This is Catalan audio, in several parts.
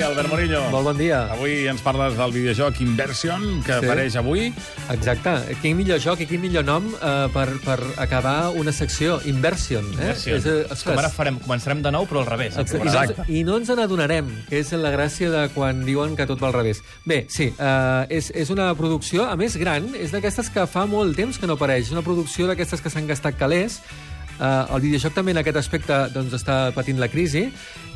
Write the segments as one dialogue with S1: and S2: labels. S1: Albert Morillo.
S2: Molt bon dia.
S1: Avui ens parles del videojoc Inversion, que sí.
S2: Sí.
S1: apareix avui.
S2: Exacte. Quin millor joc i quin millor nom eh, per, per acabar una secció. Inversion. Eh?
S3: Inversion.
S2: eh,
S3: Com ara farem, començarem de nou, però al revés.
S2: Exacte. I,
S1: Exacte.
S2: no, ens- I no ens n'adonarem, que és la gràcia de quan diuen que tot va al revés. Bé, sí, eh, és, és una producció, a més, gran, és d'aquestes que fa molt temps que no apareix. És una producció d'aquestes que s'han gastat calés, Uh, el videojoc també en aquest aspecte doncs, està patint la crisi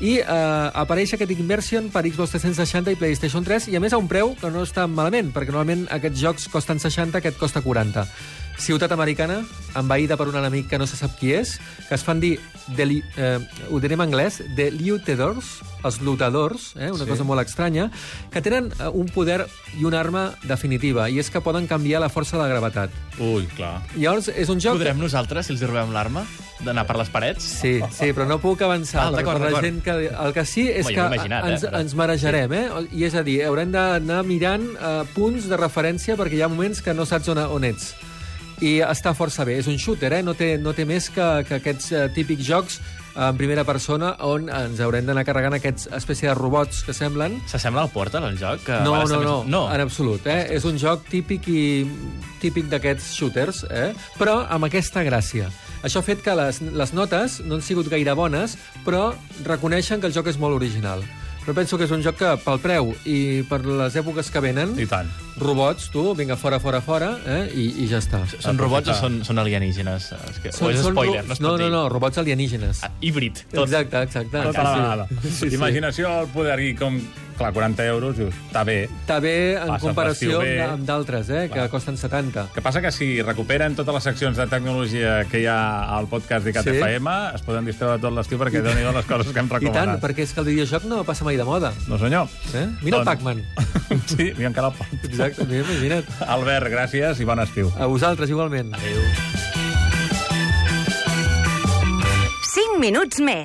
S2: i uh, apareix aquest Inversion per Xbox 360 i PlayStation 3 i a més a un preu que no està malament perquè normalment aquests jocs costen 60, aquest costa 40 ciutat americana envaïda per un enemic que no se sap qui és que es fan dir de li, eh, ho diré en anglès The Lutadors els lutadors, eh, una sí. cosa molt estranya que tenen eh, un poder i una arma definitiva i és que poden canviar la força de la gravetat
S1: Ui, clar.
S2: llavors és un joc
S3: Podrem nosaltres, si els hi robem l'arma, d'anar per les parets?
S2: Sí, sí, però no puc avançar.
S3: Ah,
S2: perquè
S3: d'acord,
S2: per la
S3: d'acord.
S2: gent que, el que sí és
S3: Home, jo
S2: que
S3: m'ho he imaginat, eh,
S2: ens,
S3: però-
S2: ens marejarem, eh? I és a dir, haurem d'anar mirant eh, punts de referència perquè hi ha moments que no saps on, on ets. I està força bé. És un shooter, eh? No té, no té més que, que aquests eh, típics jocs eh, en primera persona on ens haurem d'anar carregant aquests espècie de robots que semblen
S3: S'assembla al Portal, el joc? Que
S2: no,
S3: abans
S2: no,
S3: també-
S2: no, no, en absolut. Eh? És un joc típic i típic d'aquests shooters, eh? però amb aquesta gràcia. Això ha fet que les, les notes no han sigut gaire bones, però reconeixen que el joc és molt original. Però penso que és un joc que, pel preu i per les èpoques que venen,
S1: I tant.
S2: robots, tu, vinga, fora, fora, fora, eh? I, i ja està.
S3: Són robots o són, són alienígenes? És que, o és
S2: ro-
S3: spoiler, no es pot
S2: no, no,
S3: dir.
S2: no, robots alienígenes.
S3: Ah, híbrid, tot.
S2: Exacte, exacte.
S1: Tota la vegada. Sí, sí. Imaginació al poder i com... Clar, 40 euros, dius, està bé.
S2: Està bé en
S1: Passa
S2: comparació
S1: l'estiu bé.
S2: amb amb d'altres, eh, que costen 70.
S1: El que passa que si recuperen totes les seccions de tecnologia que hi ha al podcast d'ICAT sí.
S2: Sí.
S1: FM, es poden distreure tot l'estiu perquè donin les coses que hem
S2: I tant,
S1: recomanat.
S2: perquè és que el videojoc no passa mai de moda.
S1: No, senyor.
S2: Eh? Mira el
S1: Doncs-
S2: Pac-Man.
S1: sí, i encara el pot.
S2: Exacte, mira, imagina't.
S1: Albert, gràcies i bon estiu.
S2: A vosaltres, igualment.
S4: Cinc minuts més.